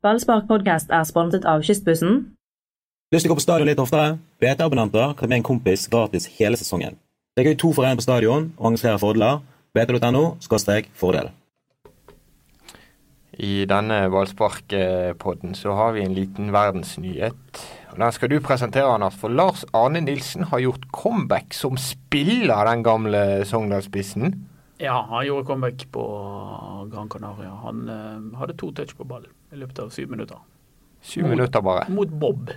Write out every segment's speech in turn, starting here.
Ballspark podcast er sponset av Kystbussen. Lyst til å gå på stadion litt oftere? BT-abonnenter kan bli en kompis gratis hele sesongen. Det er gøy to for én på stadion og arrangerer fordeler. BT.no skråstrek fordel. I denne Ballspark-podden så har vi en liten verdensnyhet. Og Den skal du presentere, Anders. For Lars Arne Nilsen har gjort comeback som spiller, den gamle Sogndal-spissen. Ja, han gjorde comeback på Gran Canaria. Han eh, hadde to touch på ball i løpet av syv minutter. Syv minutter bare. Mot Bob.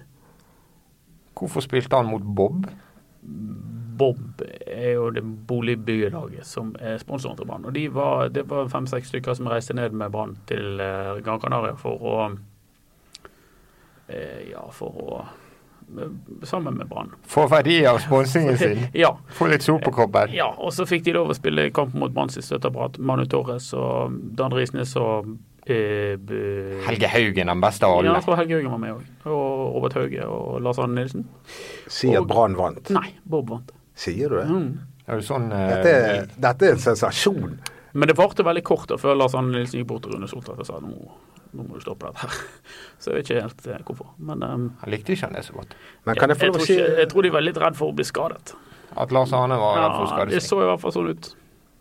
Hvorfor spilte han mot Bob? Bob er jo det boligbyggelaget som er sponsoren til Brann. Og de var, det var fem-seks stykker som reiste ned med Brann til eh, Gran Canaria for å eh, Ja, for å eh, Sammen med Brann. Få verdi av sponsingen sin. Ja. Få litt sol på kroppen. Ja, og så fikk de lov å spille kamp mot Brann sitt støtteapparat. Manu Torres og Dan Risnes og eh, b- Helge Haugen, den beste av Ja, alle. jeg tror Helge Jørgen var med òg. Og Robert Hauge og Lars Arne Nilsen. Si at Og- Mm. Brann vant. Nei, Bob vant. Sier du Mm. det? Er du sånn eh, Dette, er- dette er en sensasjon. Men det varte veldig kort da, før Lars Arne Nilsen gikk bort til Rune Soltvedt og sa nå, nå må du stoppe dette her. Så jeg vet ikke helt eh, hvorfor. Men ehm, Han likte ikke han det så godt. Men kan jeg få jeg, lov å tror si ikke, jeg tror de var litt redd for å bli skadet. At Lars Arne var redd for å Ja, skade det seg. så i hvert fall sånn ut.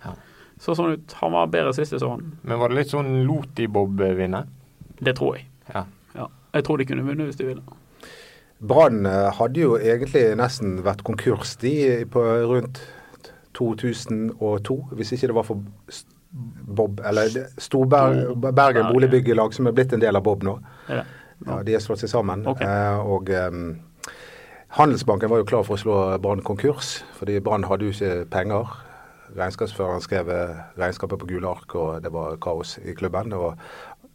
Ja. Så sånn ut. Han var bedre sist jeg så han. Men var det litt sånn lot de Bob vinne? Det tror jeg. Ja. Ja. Jeg tror de kunne vunnet hvis de ville. Brann eh, hadde jo egentlig nesten vært konkurs de på rundt 2002, hvis ikke det var for S- Bob, eller det- Storberg, Bergen boligbyggelag, som er blitt en del av Bob nå. Er det? Ja, de har slått seg sammen. Ok. Eh, og ehm, Handelsbanken var jo klar for å slå Brann konkurs, fordi Brann hadde jo ikke penger. Regnskapsføreren skrev eh, regnskapet på gule ark, og det var kaos i klubben. Og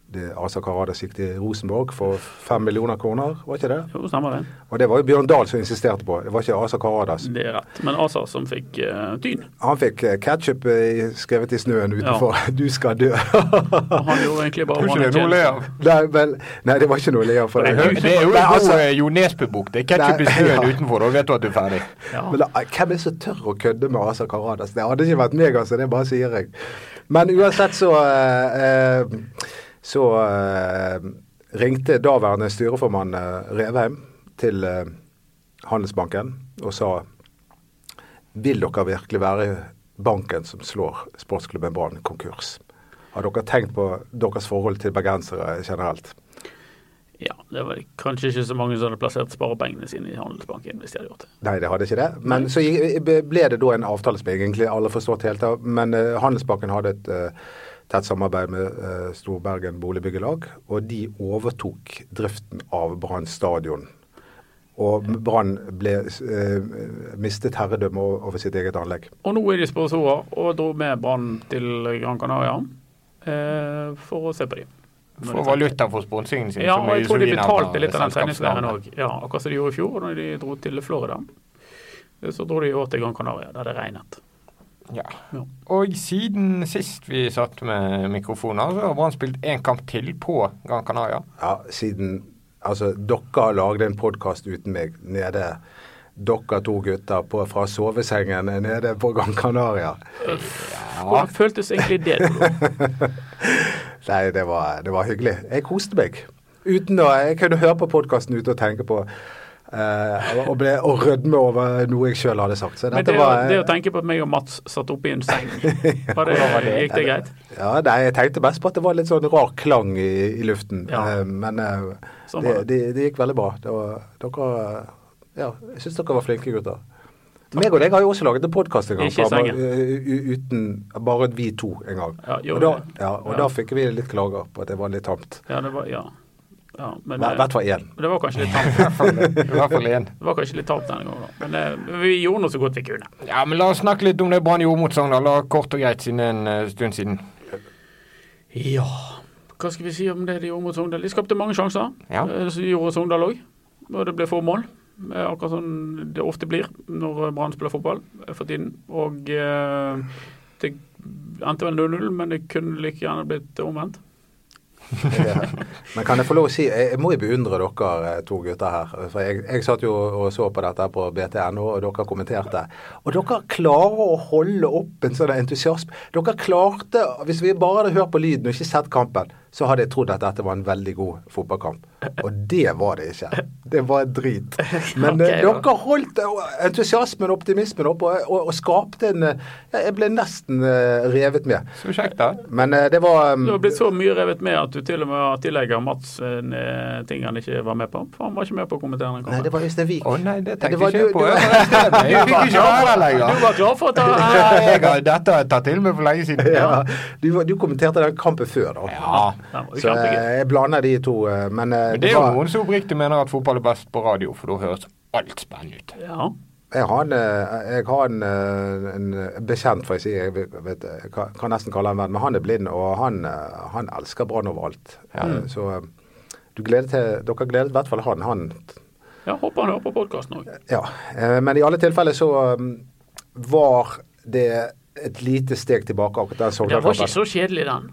det, Asa Karadas gikk til Rosenborg for fem millioner kroner, var ikke det? Jo, stemmer det. Og det var jo Bjørn Dahl som insisterte på, det var ikke Asa Karadas. Det er rett. Men Asa som fikk eh, tyn. Han fikk eh, ketchup eh, skrevet i snøen utenfor 'du skal dø'. Og han gjorde egentlig bare Tror ikke det er noe å le av. nei, vel, nei, det var ikke noe å le av. for Det det. er jo- det er jo Men en altså, god eh, Jo Nesbø-bok. Det er ketsjup i Nei, snøen ja. utenfor, da vet du at du er ferdig. Ja. Men da, hvem er så tør å kødde med Asa Karadas? Det hadde ikke vært meg, altså. Det bare sier jeg. Men uansett så eh, eh, Så eh, ringte daværende styreformann eh, Revheim til eh, Handelsbanken og sa Vil dere virkelig være banken som slår sportsklubben Brann konkurs? Har dere tenkt på deres forhold til bergensere generelt? Ja, det var kanskje ikke så mange som hadde plassert sparepengene sine i Handelsbanken hvis de hadde gjort det. Nei, det hadde ikke det. Men så gi- ble det da en avtale som egentlig alle forstått helt av. Men eh, Handelsbanken hadde et eh, tett samarbeid med eh, Storbergen Boligbyggelag, og de overtok driften av Brann stadion. Og Brann ble eh, mistet herredømme o- over sitt eget anlegg. Og nå er de sponsorer og dro med Brann til Gran Canaria eh, for å se på dem. Få valuta for sponsingen sin. Ja, som og er jeg tror de Josefine betalte litt av den selskapsnavnet. treningsleiren òg. Ja, akkurat som de gjorde i fjor, da de dro til Florida. Eh, Så dro de i år til Gran Canaria, der det regnet. Ja. Ja. Og siden sist vi satt med mikrofoner, så har Brann spilt én kamp til på Gran Canaria. Ja, siden Altså, dere lagde en podkast uten meg nede. Dere to gutter på, fra sovesengen nede på Gran Canaria. Hvordan føltes egentlig det? Dolo? Nei, det var, det var hyggelig. Jeg koste meg. Uten å, jeg kunne høre på podkasten ute og tenke på eh, og, ble, og rødme over noe jeg sjøl hadde sagt. Så Men dette det, var eh, det å tenke på at meg og Mats satt oppe i en seng, var det, gikk det greit? ja, nei, Jeg tenkte mest på at det var litt sånn rar klang i, i luften. Ja. Eh, men eh, Sånn det, var det. det, det gikk veldig bra. Det var, dere Ja, jeg syns dere var flinke gutter. Meg og deg har jo også laget en podkast en gang. Ikke i fra- sengen. u- uten, bare vi to en gang. Ja, gjorde og da, vi. ja, og Ja. da fikk vi litt klager på at det var litt tamt. Ja, det var Ja. ja men, I hvert fall én. det var kanskje litt tamt. I hvert fall én. Det var kanskje litt tapt denne gangen, da. Men eh, vi gjorde noe så godt vi kunne. Ja, men la oss snakke litt om det Brann gjorde mot Sogndal, da, kort og greit, siden det er en eh, stund siden. Ja. Hva skal vi si om det de gjorde mot Sogndal? De skapte mange sjanser. Ja. Eh, Så gjorde Sogndal òg. Og det ble få mål. Eh, Akkurat sånn det ofte blir når Brann spiller fotball eh, for tiden. Og eh, det endte vel 0-0, men det kunne like gjerne blitt omvendt. Ja. Men kan jeg få lov å si, jeg, jeg må jo beundre dere eh, to gutter her. For jeg, jeg satt jo og så på dette på BTNO, og dere kommenterte. Og dere klarer å holde opp en sånn entusiasme. Dere klarte, hvis vi bare hadde hørt på lyden og ikke sett kampen, så hadde jeg trodd at dette var en veldig god fotballkamp. Og det var det ikke. Det var drit. Men eh, Ok, da. dere holdt eh, entusiasmen og optimismen oppe og, og, og skapte en eh, Jeg ble nesten eh, revet med. Så kjekt, da. Men eh, det var Du har um, blitt så mye revet med at du til og med tillegger Mats en eh, ting han ikke var med på. For han var ikke med på å kommentere den Nei, det kampen. var Øystein Wiik. Å nei, det Det tenkte var ikke jeg du- på. Jeg var arrestert. du- Jeg fikk ikke være der Du lenger. var klar for å ta Ja, jeg har- Dette har jeg tatt til meg for lenge siden. Ja, du, var- du kommenterte den kampen før, da. Ja. Den var jo Så eh, kjempegøy. jeg blander de to, eh, men eh, Men det det er jo var noen som oppriktig mener at fotball er best på radio, for da høres alt spennende ut. Ja. Jeg har en, eh, jeg har en, eh, en bekjent, får jeg si. Jeg vet, vet- jeg kan kan nesten kalle han venn, men han er blind, og han, eh, han elsker Brann overalt. Eh, Så eh, du gleder til, dere gledet i hvert fall han. han ja. Håper han hører på podkasten òg. ja. Eh, Men i alle tilfeller så eh, var det et lite steg tilbake akkurat den Den var ikke Sogndal-kampen. så kjedelig, den.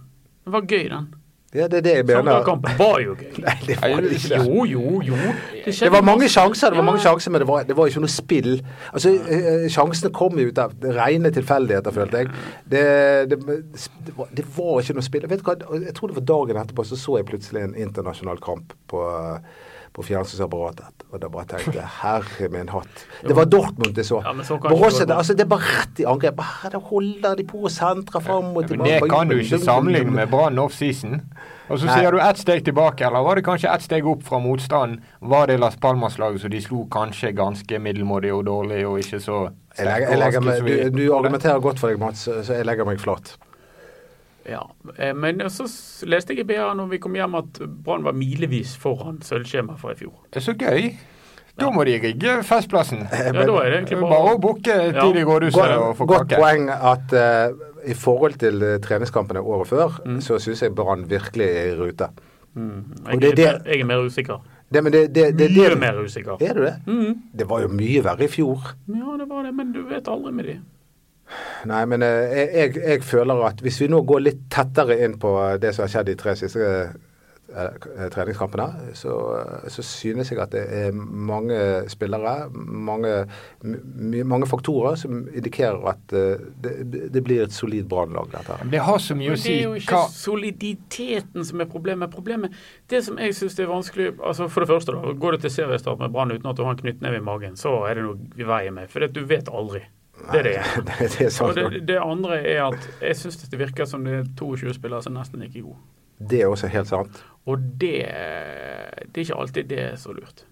Den var gøy, den. Ja, det er det jeg mener. Sogndal-kampen var jo gøy. Nei, det var det ikke. Jo, jo, jo. Det var mange sjanser, det var mange sjanser, men det var, det var ikke noe spill. Altså, eh, Sjansene kom jo ut av rene tilfeldigheter, følte jeg. Det, det, det, var, det var ikke noe spill. Jeg, vet du hva, jeg tror det var dagen etterpå så så jeg plutselig en internasjonal kamp på, på fjernsynsapparatet. Og da bare tenkte jeg herre min hatt. Det var Dortmund jeg så. Ja, men så kan ikke Borussia, Dortmund. altså, det er bare rett i angrep. Her da holder de på å sentre fram og Men tilbake. det kan du ikke sammenligne med Brann offseason. Og så Nei. sier du ett steg tilbake, eller var det kanskje ett steg opp fra motstanden? Var det Las Palmas-laget som de slo kanskje ganske middelmådig og dårlig, og ikke så Jeg legger, jeg legger meg, overrasket som du, vi- du argumenterer godt for deg, Mats, så så jeg legger meg flat. Ja, eh, men så s- leste jeg i BA når vi kom hjem at Brann var milevis foran sølvskjemaet fra i fjor. Så gøy! Da må de rigge festplassen. Ja, da er det egentlig Bare å bare booke Ja. tidlig gårdhuset og Eh, Godt, få godt kake. poeng at eh, i forhold til eh, treningskampene året før, Mm. så syns jeg Brann virkelig er i rute. Jeg, Og det er er, det- mer- jeg er mer usikker. Det, men det, det, det, Mye det, mer Mm. usikker. Er du det? Det var jo mye verre i fjor. Ja, det var det, men du vet aldri med de. Nei, men eh, jeg, jeg, jeg føler at hvis vi nå går litt tettere inn på eh, det som har skjedd de tre siste eh, eh, treningskampene, så, eh, så synes jeg at det er mange spillere, mange, my, mange faktorer som indikerer at eh, det, det blir et solid Brann-lag, dette her. Det har så mye å Men det si. er jo ikke Hva soliditeten som er problemet. Problemet, Det som jeg syns er vanskelig altså For det første, da, går du til seriestart med Brann uten at du har en knyttneve i magen, så er det noe i veien med. For det, at du vet aldri. Det er det ene. Det, det er Og sant. nok. det, det andre er at jeg syns det virker som det er 22 spillere som nesten ikke er gode. Det er også helt sant. Og det, det er ikke alltid det er så lurt.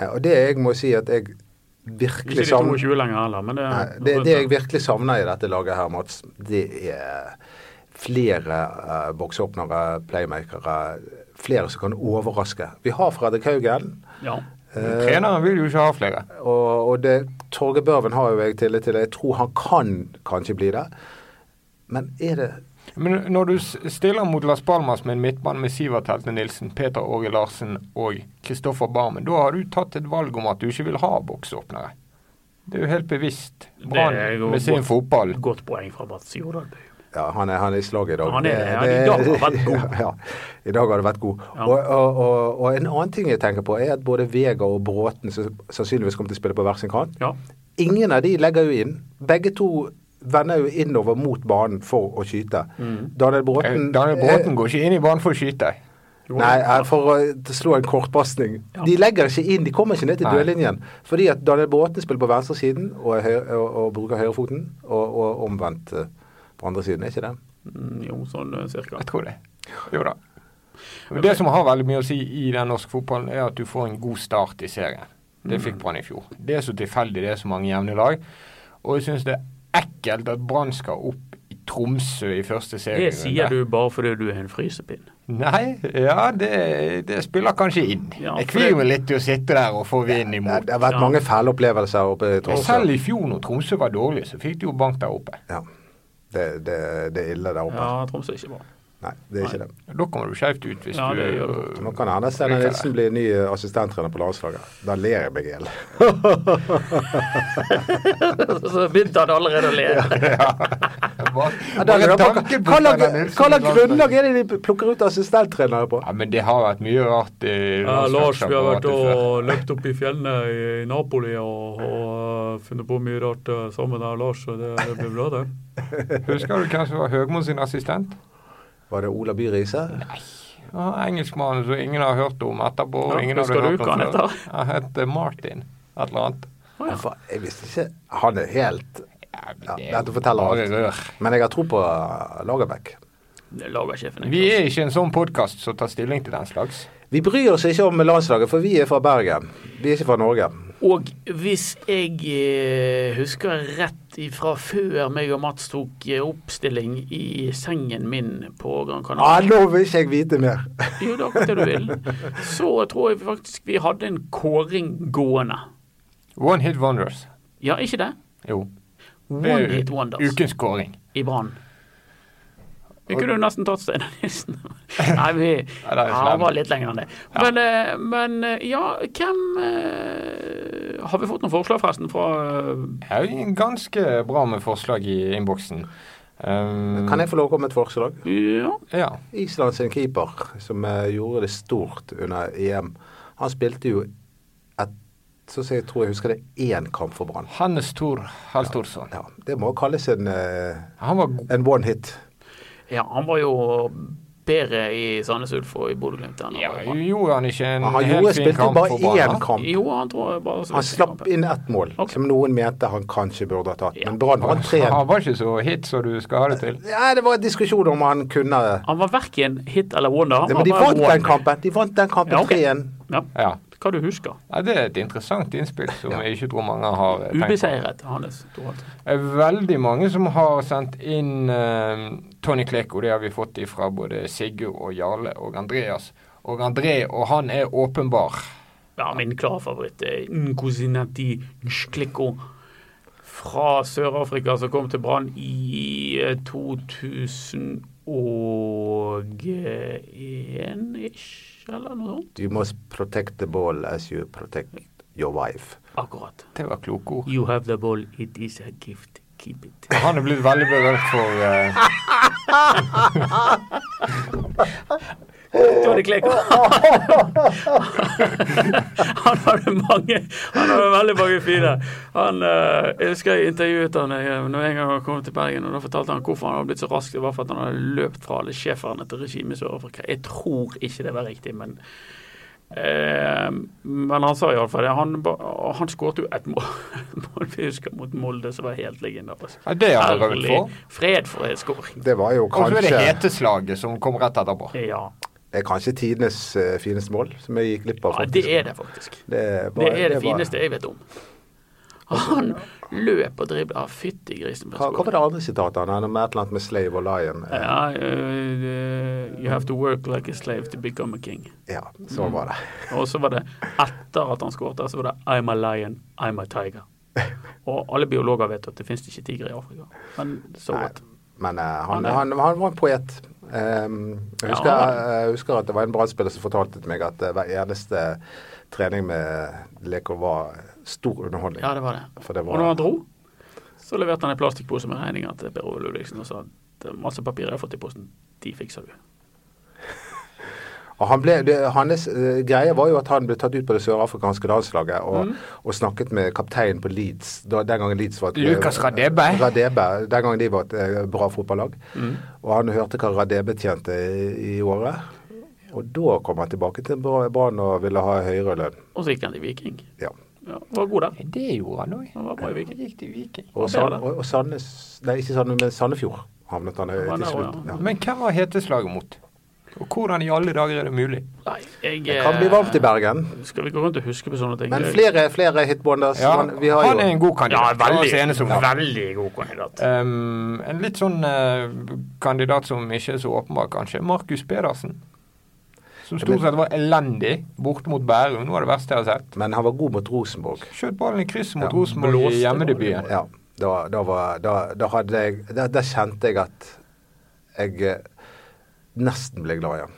Nei, og det jeg må si at jeg Ikke virkelig de savner 22 lenger heller, men det, liksom- Nei, det, det jeg virkelig savner i dette laget her, Mats, det er flere eh, boksåpnere, playmakere, flere som kan overraske. Vi har Fredrik Haugen, ja. Treneren vil jo ikke ha flere. og, og det, Torge Børven har jo jeg tillit til. Jeg tror han kan kanskje bli det. Men er det Men når du s- stiller mot Las Palmas med en midtmann med Sivert Helte Nilsen, Peter Åge Larsen og Kristoffer Barmen, da har du tatt et valg om at du ikke vil ha boksåpnere. Det er jo helt bevisst. Det er jo Brann med sin godt. fotball. Godt poeng fra Mats Jordalbø. Ja, han er, han er i slaget i dag. Han er det, ja. I dag har han vært god. ja, i dag har det vært god. Ja. Og, og, og, og en annen ting jeg tenker på, er at både Vega og Bråten som sannsynligvis kommer til å spille på hver sin kant, Ja. ingen av de legger jo inn. Begge to vender jo innover mot banen for å skyte. Mm. Daniel Bråten, Eh, Daniel eh, Bråten går ikke inn i banen for å skyte. Jo, Nei, eh, for å t- slå en kortpasning. Ja. De legger ikke inn, de kommer ikke ned til Nei. dørlinjen. Fordi at Daniel Bråten spiller på venstresiden og, er høy- og, og bruker høyrefoten, og, og omvendt eh, på andre siden, er ikke det? mm, Jo, sånn eh, cirka. Jeg tror det. Jo da. Og Det som har veldig mye å si i den norske fotballen, er at du får en god start i serien. Det Mm. fikk Brann i fjor. Det er så tilfeldig, det er så mange jevne lag. Og jeg syns det er ekkelt at Brann skal opp i Tromsø i første Det serierunde. sier du bare fordi du er en frysepinn. Nei, ja, det, det spiller kanskje inn. Ja, jeg for kvier det- meg litt til å sitte der og få vind Det, imot. det har vært Ja. mange fæle opplevelser oppe i Og Tromsø. selv i fjor når Tromsø var dårlig, så fikk de jo bank der oppe. Ja. Det, det, det er ille der oppe. Ja, Tromsø er ikke bra. Nei, det er ikke det. Da kommer du skjevt ut hvis Ja, du det gjør Nå kan Anders Steinar Nilsen bli ny eh, assistenttrener på landslaget. Da ler jeg meg i hjel. Så begynte han allerede å le. Bare, Ja, da lurer bare jeg på tanken Hva på hva Steinar lag- Nilsen hva i slags grunnlag landslaget. er det de plukker ut assistenttrenere på? Ja, men det har vært mye rart eh, i Ja, Lars, vi har vært landslagsapparatet før. og løpt opp i fjellene i i Napoli og, og eh, funnet på mye rart eh, sammen der, Lars. Så det, det blir bra, det. Husker du hvem som var Høgmo sin assistent? Var det Ola By Riise? Ja, Engelskmannen som ingen har hørt om etterpå. Ja, ingen hadde husker du hørt om hva han før. heter? Han heter Martin. Et eller annet. Å, ja. Fa- Jeg visste ikke Han er helt Ja, men ja, det er Dette jo forteller bare alt. rør. Men jeg har tro på eh, Lagerbäck. Det lager sjefen. Vi er ikke en sånn podkast som tar stilling til den slags. Vi bryr oss ikke om landslaget, for vi er fra Bergen. Vi er ikke fra Norge. Og hvis jeg eh, husker rett ifra før meg og Mats tok eh, oppstilling i sengen min på Gran Ah, Canaria nå vil ikke jeg vite mer! Jo, det er akkurat det du vil. Så tror jeg faktisk vi hadde en kåring gående. One hit wonders. Ja, ikke det? Jo. Det One er hit wonders Ukens kåring. i Brann. Vi kunne jo nesten tatt Steinar Nilsen. Nei, vi det er ja, slemt. han var litt lenger enn det. Men, eh, men eh, ja, hvem eh, Har vi fått noen forslag forresten fra eh, Det er jo en ganske bra med forslag i innboksen. Um, Kan jeg få lov å komme med et forslag? eh, Ja. Ja. Island sin keeper, som eh, gjorde det stort under EM, han spilte jo et Så jeg tror jeg husker det, én kamp for Brann. Hannes Thor Halstorsson. Ja, det må kalles en, eh, Han var god. en one hit. Ja, han var jo bedre i Sandnes Ulf og i Bodø-Glimt enn han Ja, var i Brann. gjorde han ikke en Han helt gjorde, fin spilte kamp bare for Brann? én da? kamp. Jo, han tror jeg bare Han slapp inn ett mål, Ok. som noen mente han kanskje burde ha tatt. Men Brann vant 3 Han var ikke så hit som du skal ha det til. Ja, det var en diskusjon om han kunne Han var verken hit eller wonder. Han Nei, Men de var bare vant one. den kampen. De vant den kampen Ja, ok. 3-1. Ja, Ja. hva du husker. ja, Det er et interessant innspill som jeg ikke tror mange har eh, tenkt på. Ubeseiret, Hannes. Thorvald. Det er veldig mange som har sendt inn eh, Tony Kleko. Det har vi fått ifra både Sigurd og Jarle og Andreas. Og André, og han er åpenbar. Ja, min klare favoritt er Nkosinati Nshkliko fra Sør-Afrika som kom til Brann i eh, 2001 ish, eller noe sånt. You must protect the ball as you protect your wife. Akkurat. Det var kloke ord. You have the ball, it is a gift, keep it. Og Han er blitt veldig berømt for eh, Tony Kleko. han hadde mange Han hadde veldig mange fine. Han, eh, jeg husker jeg intervjuet han eh, når jeg en gang kom til Bergen, og da fortalte han hvorfor han hadde blitt så rask. Det var for at han hadde løpt fra alle sjeferne til regimet i Sør-Afrika. Jeg tror ikke det var riktig, men eh, Men han sa iallfall det. Han, ba- han skåret jo et mål, mål vi husker mot Molde, som var helt legendarisk. ja, Det er han berømt Herlig. for. Fred for en skåring. Det var jo Og så er kanskje, det heteslaget som kom rett etterpå. Ja, det er kanskje tidenes eh, fineste mål, som jeg gikk glipp av. ja, det er det faktisk. Det, var- Det er det var- fineste jeg vet om. Han løp og dribla. Fytti grisen. Hva, hva var det andre sitatet han hadde med et eller annet med Slave og Lion? Eh, Ja, eh, det- you have to work like a slave to become a king. Ja, Mm. så var det. Og så var det etter at han skåret, så var det I'm a lion, I'm a tiger. Og alle biologer vet at det finnes ikke tigre i Afrika. Men så Nei, what. men eh, han, Han er- han, han var en poet. Ehm, jeg, husker, Ja. jeg husker at det var en brannspiller som fortalte til meg at eh, hver eneste trening med Leko var stor underholdning. Ja, det var det. For det Og når han var dro, så leverte han en plastikkpose med regninger til Per Ove Ludvigsen og sa det er masse papir jeg har fått i posten, de fikser du. Og han ble, det, hans eh, greie var jo at han ble tatt ut på det sørafrikanske landslaget Mm. og, og snakket med kapteinen på Leeds. Da, den gangen Leeds var et, eh, Lucas Radebe. Mm. Radebe. Den gangen de var et eh, bra fotballag. Og han hørte hva Radebe tjente i, i året. Og da kom han tilbake til Bra- Brann og ville ha høyere lønn. Og så gikk han til Viking. Ja. Ja, var god der. Det gjorde han òg. Han var bra i Viking. Gikk til Viking. Og, Ja, det var Sand, det. og, og Sandnes Nei, ikke Sandnes, men Sandefjord havnet han eh, var til der slutt. også, Ja. Men hvem var heteslaget mot? Og hvordan i alle dager er det mulig? Nei, jeg Det kan bli varmt i Bergen. eh, Skal vi gå rundt og huske på sånne ting? Men flere, flere hitbonders. Ja, Han, vi har han er jo en god Ja, kandidat. La oss enes om veldig, det. veldig god kandidat. Um, en litt sånn eh, kandidat som ikke er så åpenbar, kanskje. Markus Pedersen. Som stort sett var elendig borte mot Bærum. Noe av det verste jeg har sett. Men han var god mot Rosenborg. Skjøt ballen i krysset mot Ja. Rosenborg i Blåste hjemmedebuten. Ja, da, da, var, da, da hadde jeg da, da kjente jeg at jeg eh, nesten ble glad igjen.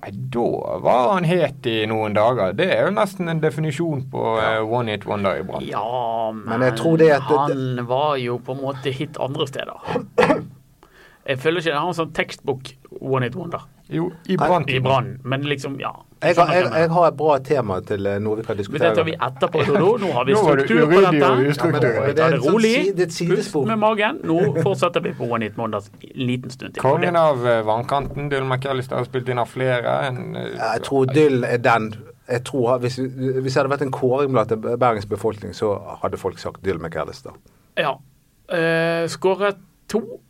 Nei, Da var han het i noen dager. Det er jo nesten en definisjon på eh, one hit wonder i Brann. Ja, men, Men jeg tror det er et- han var jo på en måte hit andre steder. Jeg føler ikke jeg har en sånn tekstbok one hit wonder Jo, i Brann. i Brann, men liksom, ja. Jeg har, Skjønner jeg, hva jeg mener. har et bra tema til eh, noe vi kan Men det diskutere. tar vi etterpå, Dodo. Nå har vi Nå var du struktur på dette. uryddig og Ja, men det- ustrukturert. men Ta er det en sånn rolig. si- Det er et Pust sidespor. med magen. Nå fortsetter vi på One Hit Wonders en liten stund til. Kongen av eh, vannkanten. Dylan McAllister har spilt inn av flere. enn, eh, Ja, Jeg tror Dyll er den jeg tror, hvis, hvis det hadde vært en kåring blant Bergens befolkning, så hadde folk sagt Dyll McAllister. Ja. Eh, Skåret to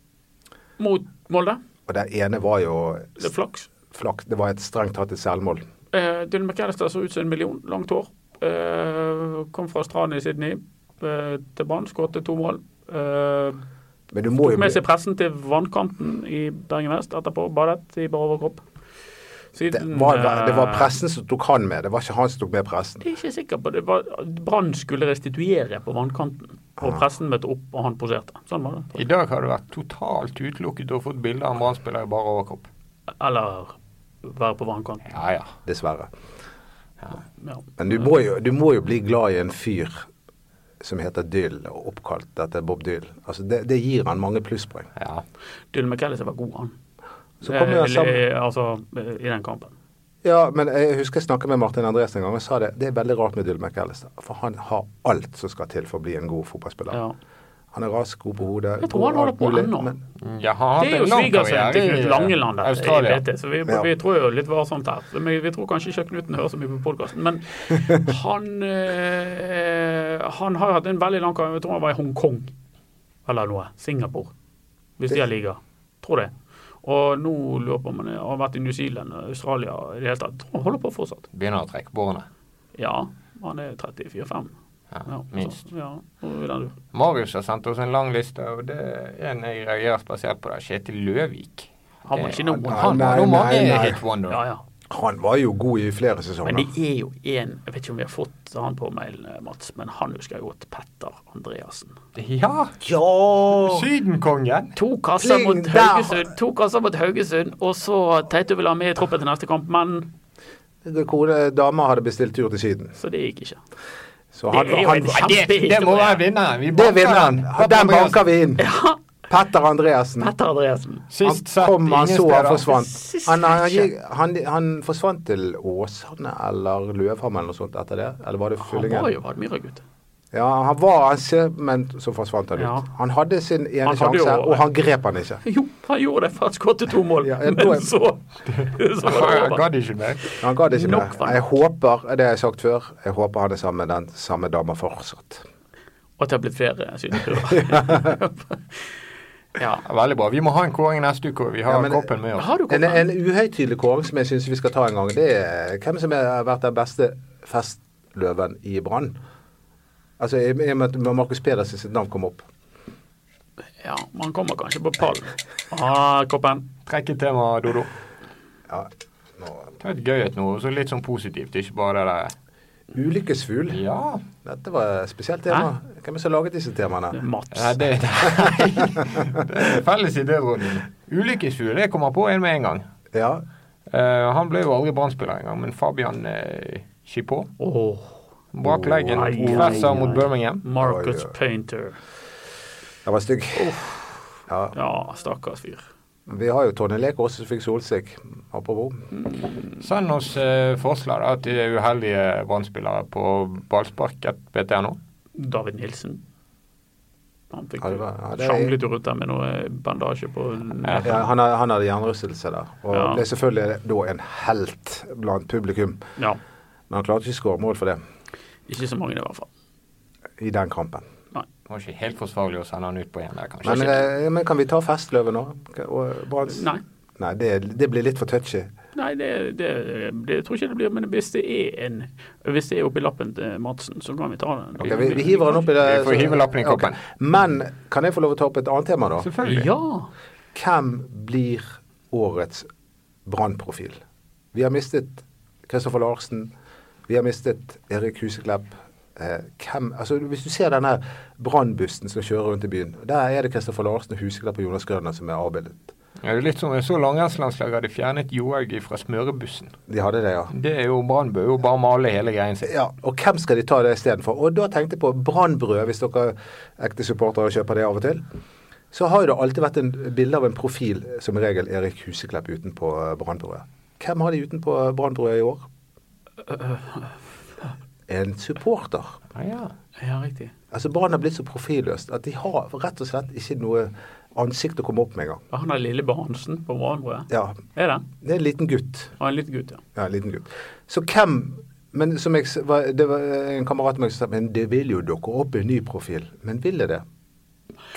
mot Molde. Og den ene var jo Det er flaks. flaks. Det var et strengt tatt et selvmål. Eh, Dylan McAllister så ut som en million, langt hår. Eh, kom fra stranden i Sydney eh, til Brann, skåret to mål. Eh, Men du må jo tok med bli seg pressen til vannkanten i Bergen vest etterpå, badet i bare overkropp. det Siden, var, det var Mm. eh, pressen som tok han med, det var ikke han som tok med pressen. Jeg er ikke sikker på det. var- Brann skulle restituere på vannkanten, Ah. og pressen møtte opp, og han poserte. Sånn var det. I dag har det vært totalt utelukket å få bilder av en Brann-spiller i bare overkropp. Eller være på vannkanten. Ja, ja. Dessverre. Ja. Men du må, jo, du må jo bli glad i en fyr som heter Dyll, og oppkalt etter Bob Dyll. Altså det, det gir han mange plusspoeng. ja. Dylan McAllister var god, han. Så kommer jeg sammen Eh, altså, eh, i den kampen. Ja, men jeg husker jeg snakket med Martin Andresen en gang og sa det. Det er veldig rart med Dylan McAllister, for han har alt som skal til for å bli en god fotballspiller. Ja. Han er rask, god på hodet. Jeg tror god han holder alt på mulig, ennå. men- Mm. Ja, han har Det hatt er jo en lang svigersønnen til karriere Knut Langeland, i dette, i Australia. BT, så vi, Ja. vi tror jo litt varsomt her. Men vi tror kanskje ikke Knuten hører så mye på podkasten, men han eh, Han har jo hatt en veldig lang karriere, jeg tror han var i Hongkong eller noe. Singapore, hvis de har liga. Tror det. Og nå lurer jeg på om han har vært i New Zealand, Australia i det hele tatt. Tror han holder på fortsatt. Begynner å trekke bårene. Ja, han er 34-5. Ja, Ja, minst. så- Ja, nå er den du. Marius har sendt oss en lang liste, og det er en jeg reagerer spesielt på. der, Kjetil Løvik. Han var ikke noe. Han Nei, har nå nei, mange nei. hit wonder. Ja, ja. Han var jo god i flere sesonger. Men det er jo en Jeg vet ikke om vi har fått han på mailen, eh, Mats, men han husker jeg godt. Petter Andreassen. Ja! Sydenkongen! To kasser Pling, mot der! Haugesund, to kasser mot Haugesund og så Teite vil ha med i troppen til neste kamp, men Det Kone, dama hadde bestilt tur til Syden. Så det gikk ikke. Så han, Det er jo han, en han, Det, det må være vinneren. Vi det vinner han. Den banker vi inn. Ja, Petter Andreassen. Petter Andreassen. Han Sist sett kom, han ingen så, han steder. forsvant. Sist Han, han, ikke. gikk- han, han forsvant til Åsane eller Løvhamn eller noe sånt etter det? Eller var det Han Fyllingen? var jo Admira-gutt. Ja, han var han ser, men så forsvant han ut. Ja. Han hadde sin ene Han hadde jo- sjanse, og han grep han ikke. Jo, han gjorde det, for han skåret to mål, Ja, jeg tror men jeg- så, så var det Jeg over. gadd ikke mer. Han ga det ikke Nok med. var nok. Jeg håper, det har jeg sagt før, jeg håper han er sammen med den samme dama fortsatt. Og at det har blitt flere sydenturer. ja. Veldig bra. Vi må ha en kåring neste uke, og vi har Ja, men- koppen med oss. Har du En, kommet? en uhøytidelig kåring som jeg syns vi skal ta en gang, det er hvem som har vært den beste festløven i Brann. Altså, i i og med at Markus Pedersen sitt navn kom opp. Ja, man kommer kanskje på pallen. Ah, Koppen. Trekk et tema, Dodo. Ja. nå- Ta et gøy et nå, og så litt sånn positivt. Ikke bare det der. Ulykkesfugl. Ja. Dette var et spesielt tema. Hvem er det som laget disse temaene? Mats. Nei, det, nei. det er felles idéråden. Ulykkesfugl. Jeg kommer på en med en gang. Ja, Eh, han ble jo aldri Brann-spiller engang, men Fabian eh, Chipot Åh, brakk leggen. Oi, oi, Professor oi. mot Birmingham. Marcus Oi, oi. Painter. den var stygg. Ja. Ja, stakkars fyr. Vi har jo Tonje Leke også som fikk solsikk. Apropos. Send oss eh, forslag da, til uheldige Brann-spillere på ballsparket BTNO. David Nilsen. Han fikk Ja, det var- ja, det- Sjanglet jo rundt der med noe bandasje på Ja. Ja, han, har- han hadde hjernerystelse der. Og Ja. ble selvfølgelig da en helt blant publikum. Ja. Men han klarte ikke å skåre mål for det Ikke så mange, i hvert fall. i den kampen. Det var ikke helt forsvarlig å sende han ut på en der, kanskje. Men, eh, men kan vi ta Festløven nå? Og eh, Branns? Nei. Nei, det, det blir litt for touchy. Nei, det, det, det jeg tror ikke det blir, men hvis det er en Hvis det er oppi lappen til Madsen, så kan vi ta den. Ok, vi, vi hiver han opp i Vi det. får hive lappen i Ok. koppen. Men kan jeg få lov å ta opp et annet tema, da? Selvfølgelig. Ja! Hvem blir årets brannprofil? Vi har mistet Kristoffer Larsen. Vi har mistet Erik Huseklepp. Eh, hvem, altså Hvis du ser denne brannbussen som kjører rundt i byen, der er det Kristoffer Larsen, Huseklepp og Jonas Grønner som er avbildet. eh, Ja, det er litt som jeg så langrennslandslaget hadde fjernet Johaug fra smørebussen. De hadde det, ja. Det er jo Brann bør jo bare male hele greien sin. Ja, Og hvem skal de ta det istedenfor? Og da tenkte jeg på Brannbrød, hvis dere ekte supportere kjøper det av og til. så har det alltid vært en bilde av en profil, som i regel Erik Huseklepp utenpå Brannbrua. Hvem har de utenpå Brannbrua i år? En supporter. Ah, ja. Ja, riktig. Altså Brann har blitt så profilløst at de har rett og slett ikke noe ansikt å komme opp med engang. Ja, Han er lille Bahansen på Morgenbrødet. Ja, Er det? det er en liten gutt. Han er en liten gutt, ja. Ja, en liten gutt. Så hvem Men som jeg, s- var- det var en kamerat av meg som sa men det vil jo dukke opp en ny profil. Men vil det det?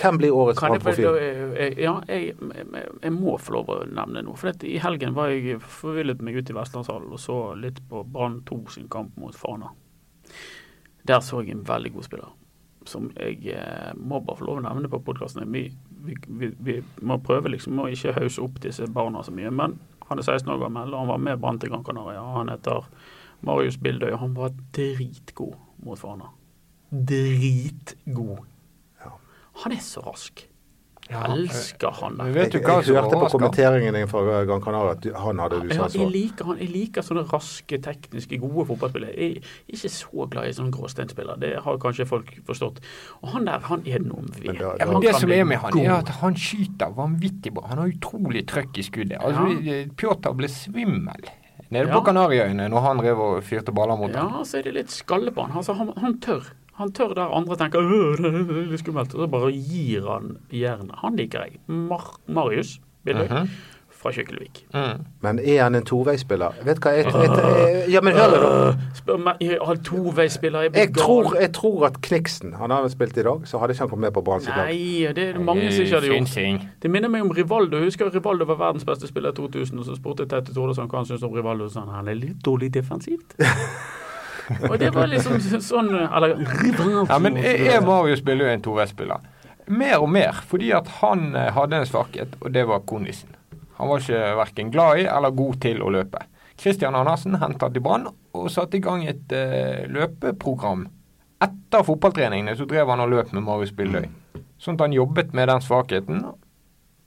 Hvem blir årets Kan jeg, bare- Brann-profil? da, eh, ja, jeg, jeg, jeg må få lov å nevne noe. For at I helgen var jeg forvillet meg ut i Vestlandshallen og så litt på Brann 2 sin kamp mot Fana. Der så jeg en veldig god spiller som jeg eh, må bare få lov å nevne på podkasten. Vi, vi, vi, vi må prøve liksom å ikke hause opp disse barna så mye. Men han er 16 år gammel, og han var med Brann til Gran Canaria. Han heter Marius Bildøy, og han var dritgod mot Fana. Dritgod. Ja. Han er så rask. Ja, Jeg elsker han Men der. Jeg, vet du jeg, hva som hørte på overrasker? kommenteringen din fra Gran Canaria at du- han hadde du sånn Ja, sans jeg for. liker han. Jeg liker sånne raske, tekniske, gode fotballspillere. Jeg er ikke så glad i sånne gråsteinspillere. Det har kanskje folk forstått. Og han der, han er noe Men ved. da- Ja, da- han Det kan som bli er med han, er god. at han skyter vanvittig bra. Han har utrolig trøkk i skuddet. Altså, eh, Pjotr ble svimmel nede på Ja. Kanariøyene når han rev og fyrte baller mot ham. Ja, så er det litt skalle på han. Altså, han, han tør. Han tør der andre tenker «Øh, det er litt skummelt, og så bare gir han jernet. Han liker jeg. Mar Marius Billøy fra Kjøkkelvik. Mm. Men er han en toveisspiller? Vet du hva jeg, jeg, jeg Ja, men hør det, da. Spør meg, jeg har toveisspillere Jeg tror, jeg tror at Kniksen Han har spilt i dag, så hadde ikke han kommet med på Brann sitt lag. Nei, det er det mange som ikke hadde gjort. Synsing. Det minner meg om Rivaldo. Jeg husker Rivaldo var verdens beste spiller i 2000, og så spurte jeg Tete Tordesson hva han syntes om Rivaldo, og så sa han han er litt dårlig defensivt. og det var liksom sånn Eller Rivaldo. Ja, men er er Marius Billø en toveisspiller? Mer og mer, fordi at han eh, hadde en svakhet, og det var kondisen. Han var ikke verken glad i eller god til å løpe. Christian Andersen hentet til Brann og satte i gang et eh, løpeprogram. Etter fotballtreningene så drev han og løp med Marius Billøy. Sånn at han jobbet med den svakheten,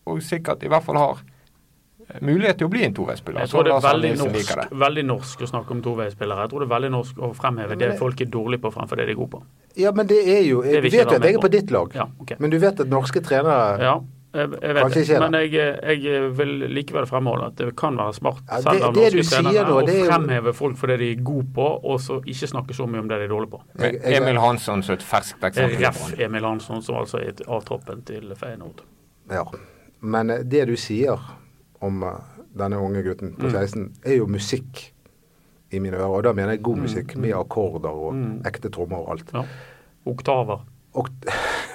og sikkert i hvert fall har eh, mulighet til å bli en toveisspiller. Jeg tror det Sånn er Lars veldig Nilsen liker norsk, veldig norsk å snakke om toveispillere. Jeg tror det er veldig norsk å fremheve det folk er dårlige på fremfor det de er gode på. Ja, men det er jo Det Jeg vil vet ikke jo være at jeg er med på på. ditt lag. Ja, ok. Men du vet at norske trenere Ja, jeg, jeg vet Kanskje det. ikke, da. Men jeg, jeg vil likevel fremholde at det kan være smart, Ja, det- selv av det du norske sier trenere, nå, det å er jo- fremheve folk for det de er gode på, og så ikke snakke så mye om det de er dårlige på. det. Jeg- jeg- Emil Hansson som et ferskt eksempel. på Ref. han. Emil Hansson, som altså er A-troppen til Feyenoord. Ja. Men eh, det du sier om eh, denne unge gutten på 16, er jo musikk i mine ører. Og da mener jeg god musikk med akkorder og ekte trommer og alt. Ja. Oktaver. Og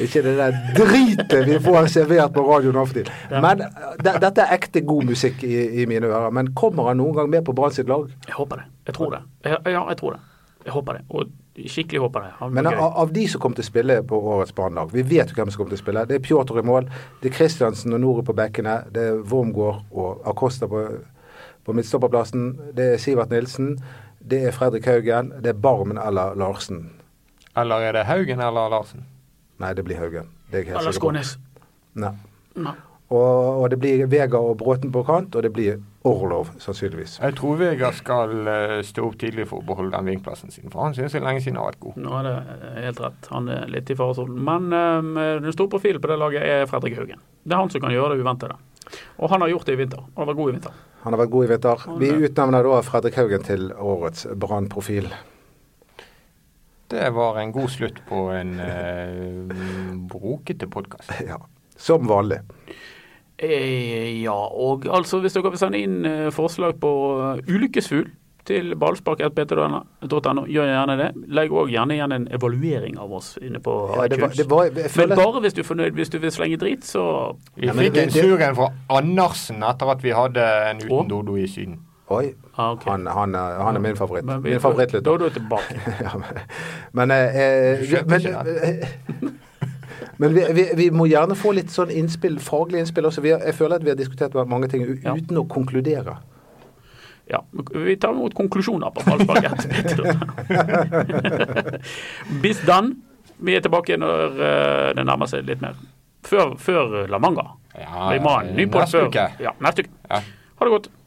ikke det der dritet vi får servert på radioen av og til. Men eh, de, dette er ekte god musikk i, i mine ører. Men kommer han noen gang med på Brann sitt lag? Jeg håper det. Jeg tror det. Jeg, ja, jeg tror det. Jeg håper det. Og skikkelig håper det. Han blir Men gøy. av, av de som kom til å spille på årets Brannlag, vi vet jo hvem som kom til å spille. Det er Pjotr i mål, det er Kristiansen og Nore på bekkene, det er Wormgård og Acosta på, på midtstopperplassen, det er Sivert Nilsen, det er Fredrik Haugen, det er Barmen eller Larsen. Eller er det Haugen eller Larsen? Nei, det blir Haugen. Det er jeg Eller helt sikker på. Skånes. Nei. Nei. Og, og det blir Vega og Bråten på kant, og det blir Orlov sannsynligvis. Jeg tror Vegard skal eh, stå opp tidlig for å beholde den vingplassen sin, for han synes det er lenge siden han har vært god. Nå er det eh, helt rett. Han er litt i faresonen. Men eh, den store profilen på det laget er Fredrik Haugen. Det er han som kan gjøre det uventede. Og han har gjort det i vinter. Han var god i vinter. Han har vært god i vinter. Vi utnevner da Fredrik Haugen til årets Brann-profil. Det var en god slutt på en eh, brokete podkast. Ja. Som vanlig. Eh, ja, og altså hvis dere vil sende inn eh, forslag på eh, ulykkesfugl til ballspark.bt.no, gjør gjerne det. Legg òg gjerne igjen en evaluering av oss inne på Ja, det var, iTunes. det var, jeg Men føler bare hvis du er fornøyd. Hvis du vil slenge drit, så Vi Ja, men fikk det- en det- sur en fra Andersen etter at vi hadde en Å? uten Dodo i Syden. Oi, Ah, ok. Ah, han, han, er- han er min favoritt. Men vi- Min favoritt Da er du tilbake. ja, men- men eh, eh, skjønte men, ikke eh, men vi, vi, vi må gjerne få litt sånn innspill, faglige innspill også. Vi har, jeg føler at vi har diskutert mange ting u- Ja. uten å konkludere. Ja, vi tar imot konklusjoner på fallsparket. Bis dan. Vi er tilbake når eh, det nærmer seg litt mer. Før, før La Manga. Ja, Vi må ha en ny neste podd før- uke. Ja, neste uke. Ja. Ha det godt.